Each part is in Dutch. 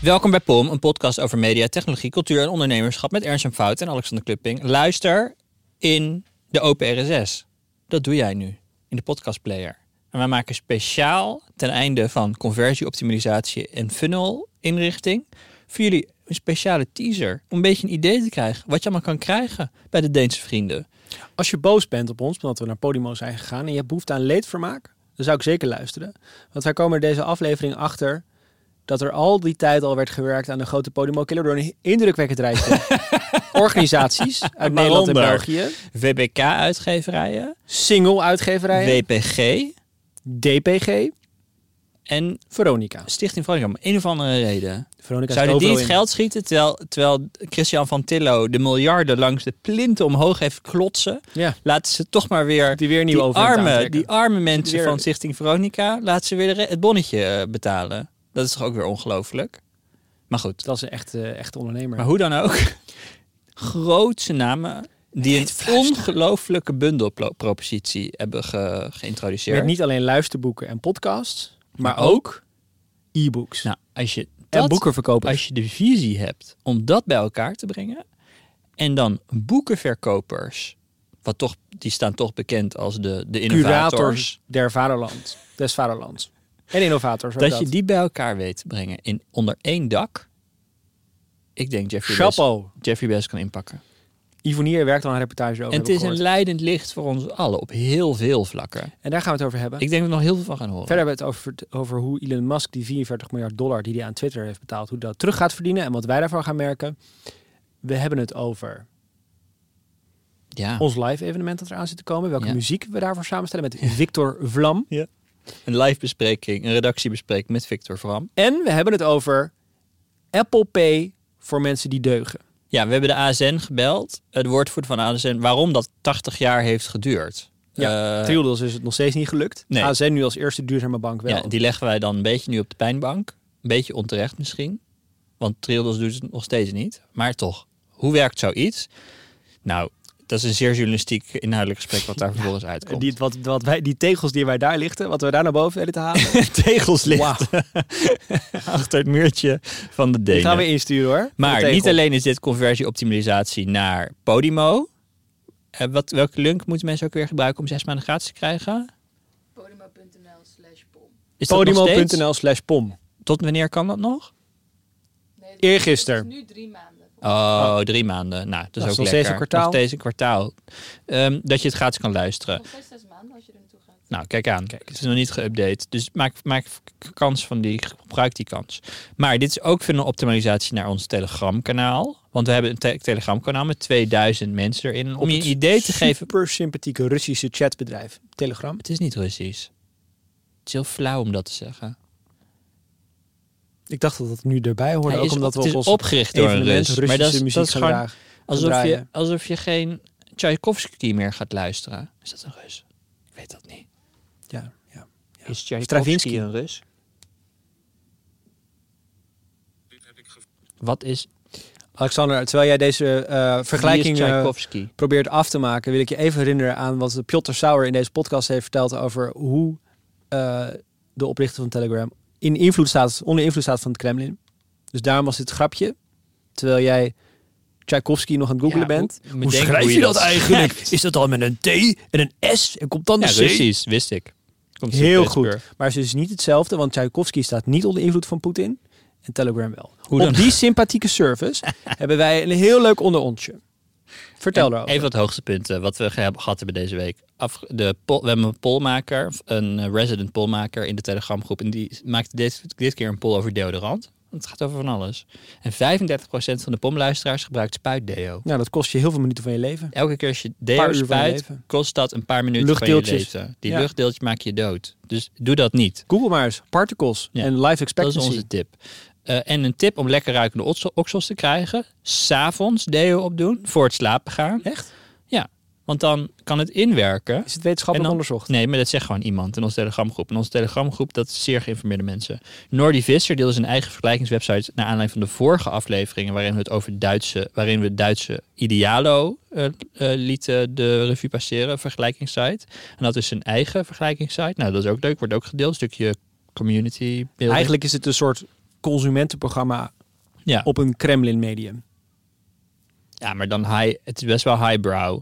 Welkom bij POM, een podcast over media, technologie, cultuur en ondernemerschap met Ernst en Fout en Alexander Klupping. Luister in de Open RSS. Dat doe jij nu in de podcastplayer. En wij maken speciaal ten einde van conversieoptimalisatie en funnel inrichting voor jullie een speciale teaser om een beetje een idee te krijgen wat je allemaal kan krijgen bij de Deense vrienden. Als je boos bent op ons, omdat we naar Podimo zijn gegaan en je hebt behoefte aan leedvermaak, dan zou ik zeker luisteren. Want wij komen er deze aflevering achter dat er al die tijd al werd gewerkt aan de grote Podimo Killer door een indrukwekkend rijtje organisaties uit Nederland en Waaronder. België, WBK uitgeverijen, single uitgeverijen, WPG DPG, en Veronica. Stichting Veronica. Om een of andere reden. Veronica zit Zouden die overal het in. geld schieten terwijl, terwijl Christian van Tillo de miljarden langs de plinten omhoog heeft klotsen? Ja. Laten ze toch maar weer Die weer nieuw die overhemd arme, aantrekken. die arme mensen Weer- van Stichting Veronica, laten ze weer de re- het bonnetje eh, betalen. Dat is toch ook weer ongelooflijk? Maar goed, Dat is een echte, echte ondernemer. maar hoe dan ook. Grootse namen die een ongelooflijke bundelpropositie hebben ge- geïntroduceerd. Met niet alleen luisterboeken en podcasts, maar, Maar ook e-books. Nou, als je en dat boekenverkopen. Als je de visie hebt om dat bij elkaar te brengen. En dan boekenverkopers. Wat toch, die staan toch bekend als de, de innovators. curators der vaderland, des vaderlands. En innovators. ook Dat, je die bij elkaar weet te brengen in, onder één dak. Ik denk Jeffrey Best, Chapeau. Jeffrey Best kan inpakken. Ivonier werkt al een reportage en over. heb het ik is een gehoord. leidend licht voor ons allen op heel veel vlakken. En daar gaan we het over hebben. Ik denk dat we nog heel veel van gaan horen. Verder hebben we het over, over hoe Elon Musk die 44 miljard dollar die hij aan Twitter heeft betaald, hoe dat terug gaat verdienen en wat wij daarvan gaan merken. We hebben het over ja. ons live evenement dat eraan zit te komen, welke Ja. muziek we daarvoor samenstellen met Victor Vlam. Een live bespreking, een redactiebespreking met Victor Vram. En we hebben het over Apple Pay voor mensen die deugen. Ja, we hebben de ASN gebeld. Het woordvoerder van ASN. Waarom dat 80 jaar heeft geduurd. Ja, Eh, Triodos is het nog steeds niet gelukt. Nee. ASN nu als eerste duurzame bank wel. Ja, die leggen wij dan een beetje nu op de pijnbank. Een beetje onterecht misschien. Want Triodos doet het nog steeds niet. Maar toch, hoe werkt zoiets? Nou, dat is een zeer journalistiek inhoudelijk gesprek wat daar vervolgens uitkomt. Die, wat, wat wij, die tegels die wij daar lichten, wat we daar naar boven willen te halen, tegels ligt achter het muurtje van de die gaan Denen. we insturen hoor. De Maar tegel. niet alleen is dit conversieoptimalisatie naar Podimo. Eh, wat, welke link moeten mensen ook weer gebruiken om zes maanden gratis te krijgen? Podimo.nl slash pom. Is dat nog steeds? Podimo.nl slash pom. Tot wanneer kan dat nog? Nee, dat- Eergisteren. dat is Nu drie maanden. Oh, drie maanden. Nou, dat is is ook nog lekker. steeds een kwartaal. Oh. Nog steeds een kwartaal. Ehm, dat je het gratis kan luisteren. Nog steeds zes maanden als je er naartoe gaat. Nou, kijk aan. Het is nog niet geüpdate. Dus maak, maak k- kans van die, gebruik die kans. Maar dit is ook weer een optimalisatie naar ons Telegram-kanaal. Want we hebben een te- Telegram-kanaal met 2000 mensen erin. Om Op je het een idee te geven... Super sympathieke Russische chatbedrijf. Telegram. Het is niet Russisch. Het is heel flauw om dat te zeggen. Ik dacht dat het nu erbij hoorde. Hij ook is omdat op- we het op is ons opgericht door een evenement Rus. Russische Maar dat is, muziek dat is gaan gewoon dragen. alsof je, draaien. alsof je geen Tchaikovsky meer gaat luisteren. Is dat een Rus? Ik weet dat niet. Ja, ja. Is Stravinsky. een Rus? Wat is Alexander, terwijl jij deze eh vergelijking vergelijking eh, Tchaikovsky? probeert af te maken, wil ik je even herinneren aan wat Piotr Sauer in deze podcast heeft verteld over hoe eh, de oprichter van Telegram in invloed staat, onder invloed staat van het Kremlin. Dus daarom was dit grapje. Terwijl jij Tchaikovsky nog aan het googelen Ja, bent. hoe- bedenk hoe je dat schrijft. Is dat dan met een T en een S en komt dan Ja, de C? Russisch, wist ik. Komt uit Heel Pittsburgh. goed. Maar het is niet hetzelfde, want Tchaikovsky staat niet onder invloed van Poetin en Telegram wel. Hoe Op dan? die sympathieke service hebben wij een heel leuk onderontje. Vertel En erover. Even wat hoogtepunten wat we ge- hebben- gehad hebben deze week. Af, de pol, we hebben een polmaker, een eh, resident polmaker in de Telegramgroep. En die maakte dit, dit keer een poll over deodorant. Want het gaat over van alles. En 35% van de pomluisteraars gebruikt spuitdeo. Nou, dat kost je heel veel minuten van je leven. Elke keer als je Paar deo uur van je spuit, leven. kost dat een paar minuten van je Luchtdeeltjes. leven. Die Ja. luchtdeeltjes maak je dood. Dus doe dat niet. Google maar eens particles Ja, en life Dat is expectancy. onze tip. Eh, en een tip om lekker ruikende oksel- oksels te krijgen. S'avonds deo opdoen voor het slapen gaan. Echt? Ja, want dan kan het inwerken. Is het wetenschappelijk En dan- onderzocht? Nee, maar dat zegt gewoon iemand in onze telegramgroep. En onze telegramgroep, dat is zeer geïnformeerde mensen. Nordi Visser deelde zijn eigen vergelijkingswebsite... naar aanleiding van de vorige afleveringen... waarin we het over Duitse... waarin we Duitse Idealo eh, eh, lieten de revue passeren, vergelijkingssite. En dat is zijn eigen vergelijkingssite. Nou, dat is ook leuk, wordt ook gedeeld. Een stukje community building. Eigenlijk is het een soort consumentenprogramma Ja. op een Kremlin medium. Ja, maar dan high, het is best wel highbrow.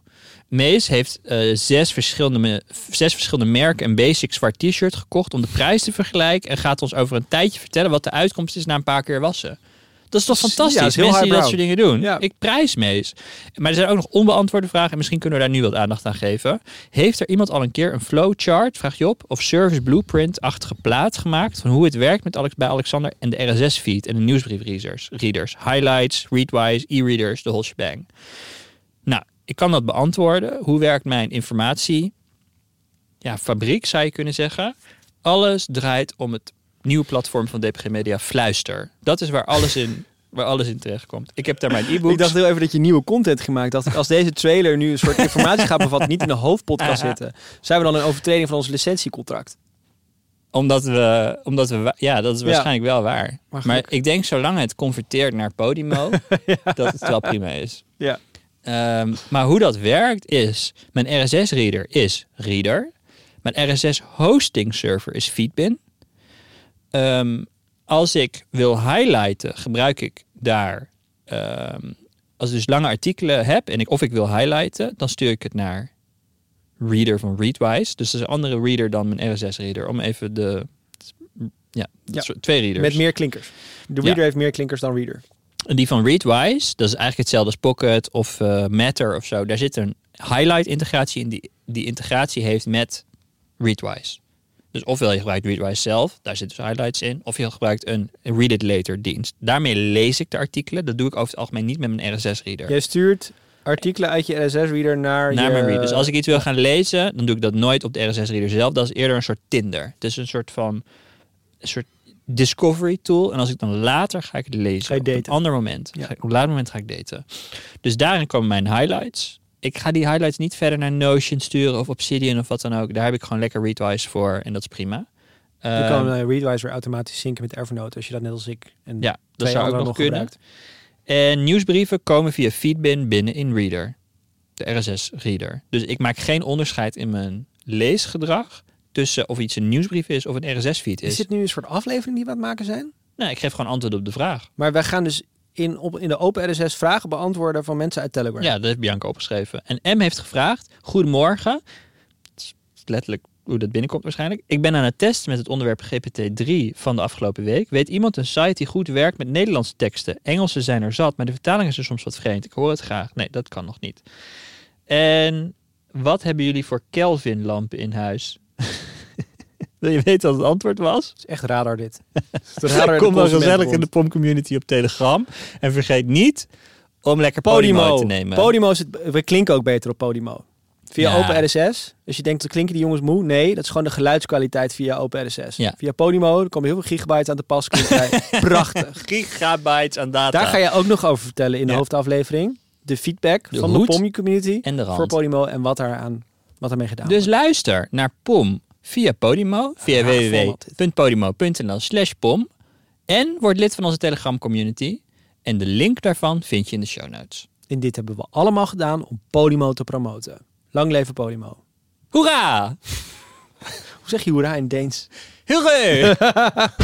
Mees heeft eh, zes, verschillende, me- zes verschillende merken een basic zwart t-shirt gekocht om de prijs te vergelijken. En gaat ons over een tijdje vertellen wat de uitkomst is na een paar keer wassen. Dat is toch Ja, fantastisch? het is heel Mensen die dat soort highbrow. dingen doen. Ja. Ik prijs Mees. Maar er zijn ook nog onbeantwoorde vragen. En misschien kunnen we daar nu wat aandacht aan geven. Heeft er iemand al een keer een flowchart, vraag je op, of service blueprint-achtige plaat gemaakt van hoe het werkt met Alex bij Alexander en de RSS-feed en de nieuwsbriefreaders, readers, highlights, readwise, e-readers, de whole shebang. Nou, ik kan dat beantwoorden. Hoe werkt mijn informatie? Ja, fabriek zou je kunnen zeggen. Alles draait om het nieuwe platform van DPG Media, Fluister. Dat is waar alles in, waar alles in terechtkomt. Ik heb daar mijn e-book. Ik dacht heel even dat je nieuwe content gemaakt had. Als deze trailer nu een soort informatie gaat bevatten, niet in de hoofdpodcast zitten, zijn we dan een overtreding van ons licentiecontract? Omdat we, omdat we, wa- ja, dat is Ja. waarschijnlijk wel waar. Maar Maar, gelukkig. ik denk zolang het converteert naar Podimo, dat het wel prima is. Ja. Ehm, maar hoe dat werkt is, mijn RSS-reader is Reader. Mijn RSS-hosting-server is Feedbin. Ehm, als ik wil highlighten, gebruik ik daar... ehm, als ik dus lange artikelen heb en ik, of ik wil highlighten, dan stuur ik het naar Reader van Readwise. Dus dat is een andere reader dan mijn RSS-reader. Om even de... Ja, Ja. zo- twee readers. Met meer klinkers. De reader heeft meer klinkers dan reader. En Die van Readwise, dat is eigenlijk hetzelfde als Pocket of eh, Matter of zo. Daar zit een highlight-integratie in die die integratie heeft met Readwise. Dus ofwel je gebruikt Readwise zelf, daar zitten dus highlights in. Of je gebruikt een Read It Later dienst. Daarmee lees ik de artikelen. Dat doe ik over het algemeen niet met mijn RSS-reader. Jij stuurt artikelen uit je RSS-reader naar Naar je... mijn reader. Dus als ik iets wil gaan lezen, dan doe ik dat nooit op de RSS-reader zelf. Dat is eerder een soort Tinder. Het is een soort van een soort discovery tool. En als ik dan later ga ik het lezen. Ga je Op daten. een ander moment. Ja. Ga ik- op een later moment ga ik daten. Dus daarin komen mijn highlights. Ik ga die highlights niet verder naar Notion sturen of Obsidian of wat dan ook. Daar heb ik gewoon lekker Readwise voor en dat is prima. Je Ehm, kan eh, Readwise weer automatisch synken met Evernote als je dat net als ik en ja, dat twee zou ook nog, anderen nog kunnen. gebruikt. En nieuwsbrieven komen via Feedbin binnen in Reader. De RSS-reader. Dus ik maak geen onderscheid in mijn leesgedrag tussen of iets een nieuwsbrief is of een RSS-feed Is is. dit nu een soort aflevering die we aan het maken zijn? Nou, ik geef gewoon antwoord op de vraag. Maar wij gaan dus in, op, in de open RSS vragen beantwoorden van mensen uit Telegram. Ja, dat heeft Bianca opgeschreven. En M heeft gevraagd, goedemorgen. Het is letterlijk hoe dat binnenkomt waarschijnlijk. Ik ben aan het testen met het onderwerp GPT-3 van de afgelopen week. Weet iemand een site die goed werkt met Nederlandse teksten? Engelse zijn er zat, maar de vertaling is er soms wat vreemd. Ik hoor het graag. Nee, dat kan nog niet. En wat hebben jullie voor Kelvin-lampen in huis? Wil je weten wat het antwoord was? Het is echt radar dit. Kom dan gezellig in de POM community op Telegram. En vergeet niet om lekker Podimo, Podimo. te nemen. Podimo is het, we klinken ook beter op Podimo. Via Ja. Open RSS. Dus je denkt, dat klinken die jongens moe? Nee, dat is gewoon de geluidskwaliteit via Open RSS. Ja. Via Podimo, er komen heel veel gigabytes aan de pas. klinkt vrij Prachtig. gigabytes aan data. Daar ga je ook nog over vertellen in de Ja. hoofdaflevering. De feedback De van hoed de Pommy community en de rand. voor Podimo en wat, daaraan, wat daarmee gedaan Dus luister naar POM via Podimo, via Raar format www.podimo.nl slash POM. En word lid van onze Telegram community. En de link daarvan vind je in de show notes. En dit hebben we allemaal gedaan om Podimo te promoten. Lang leven Podimo. Hoera! Hoe zeg je hoera in Deens? Hoera!